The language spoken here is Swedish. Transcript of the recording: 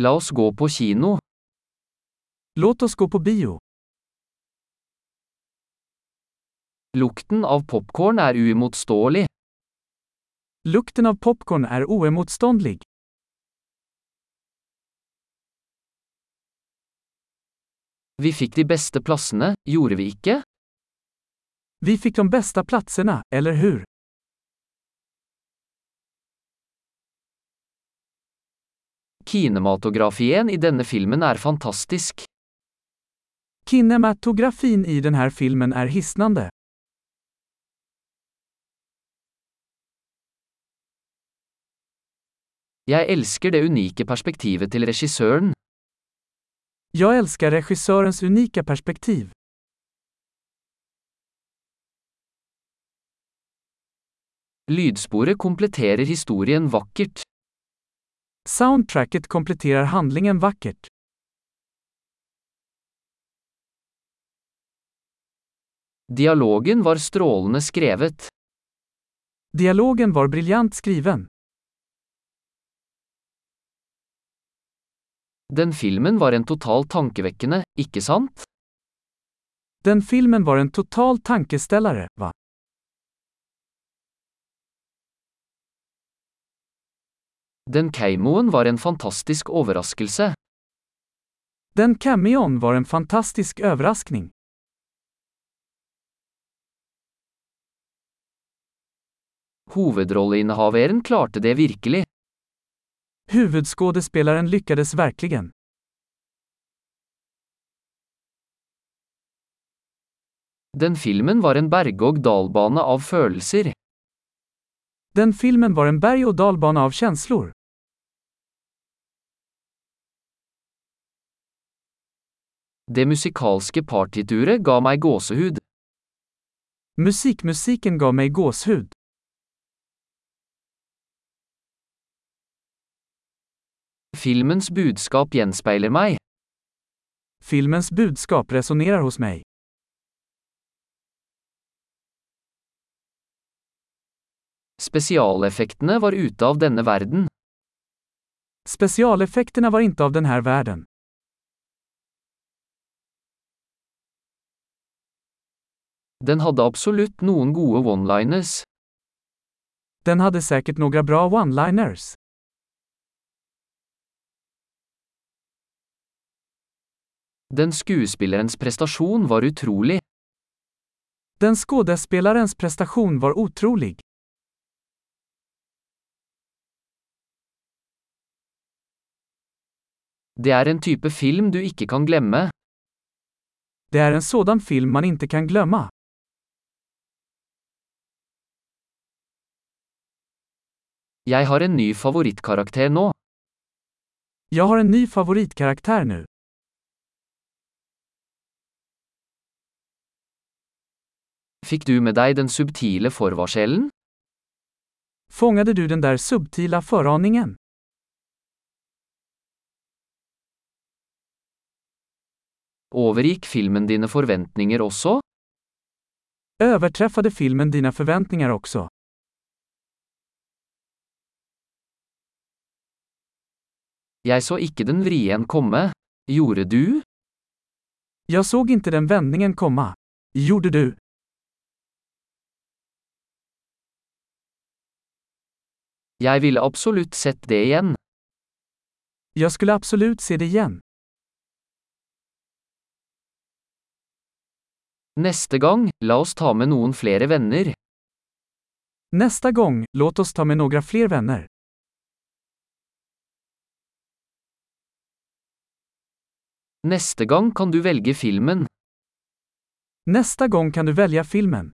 La oss gå på kino. Låt oss gå på bio. Lukten av popcorn är uemotståelig. Lukten av popcorn är oemotståndlig. Vi fick de bästa platserna, gjorde vi icke? Vi fick de bästa platserna, eller hur? Kinematografien i denna filmen är fantastisk. Kinematografin i den här filmen är hisnande. Jag älskar det unika perspektivet till regissören. Jag älskar regissörens unika perspektiv. Lydsporet kompletterar historien vackert. Soundtracket kompletterar handlingen vackert. Dialogen var strålande skrevet. Dialogen var briljant skriven. Den filmen var en total tankeväckande, icke sant? Den filmen var en total tankeställare, va? Den cameon var en fantastisk överraskelse. Den cameon var en fantastisk överraskning. Huvudrolleinnehavaren klarade det verkligen. Huvudskådespelaren lyckades verkligen. Den filmen var en berg- och dalbana av känslor. Den filmen var en berg och dalbana av känslor. Det musikalske partituret gav mig gåsehud. Musikmusiken gav mig gåshud. Filmens budskap genspeglar mig. Filmens budskap resonerar hos mig. Specialeffekterna var ute av denna världen. Specialeffekterna var inte av den här världen. Den hade absolut någon gode one-liners. Den hade säkert några bra one-liners. Den skuespillerens prestation var otrolig. Den skådespelarens prestation var otrolig. Det är en typ av film du inte kan glömma. Det är en sådan film man inte kan glömma. Jag har en ny favoritkaraktär nu. Jag har en ny favoritkaraktär nu. Fick du med dig den subtila förvarselen? Fångade du den där subtila föraningen? Övergick filmen dina förväntningar också? Överträffade filmen dina förväntningar också? Jag såg inte den vrien komma. Gjorde du? Jag såg inte den vändningen komma. Gjorde du? Jag ville absolut sett det igen. Jag skulle absolut se det igen. Nästa gång, låt oss ta med någon flera vänner. Nästa gång, låt oss ta med några fler vänner. Nästa gång kan du välja filmen. Nästa gång kan du välja filmen.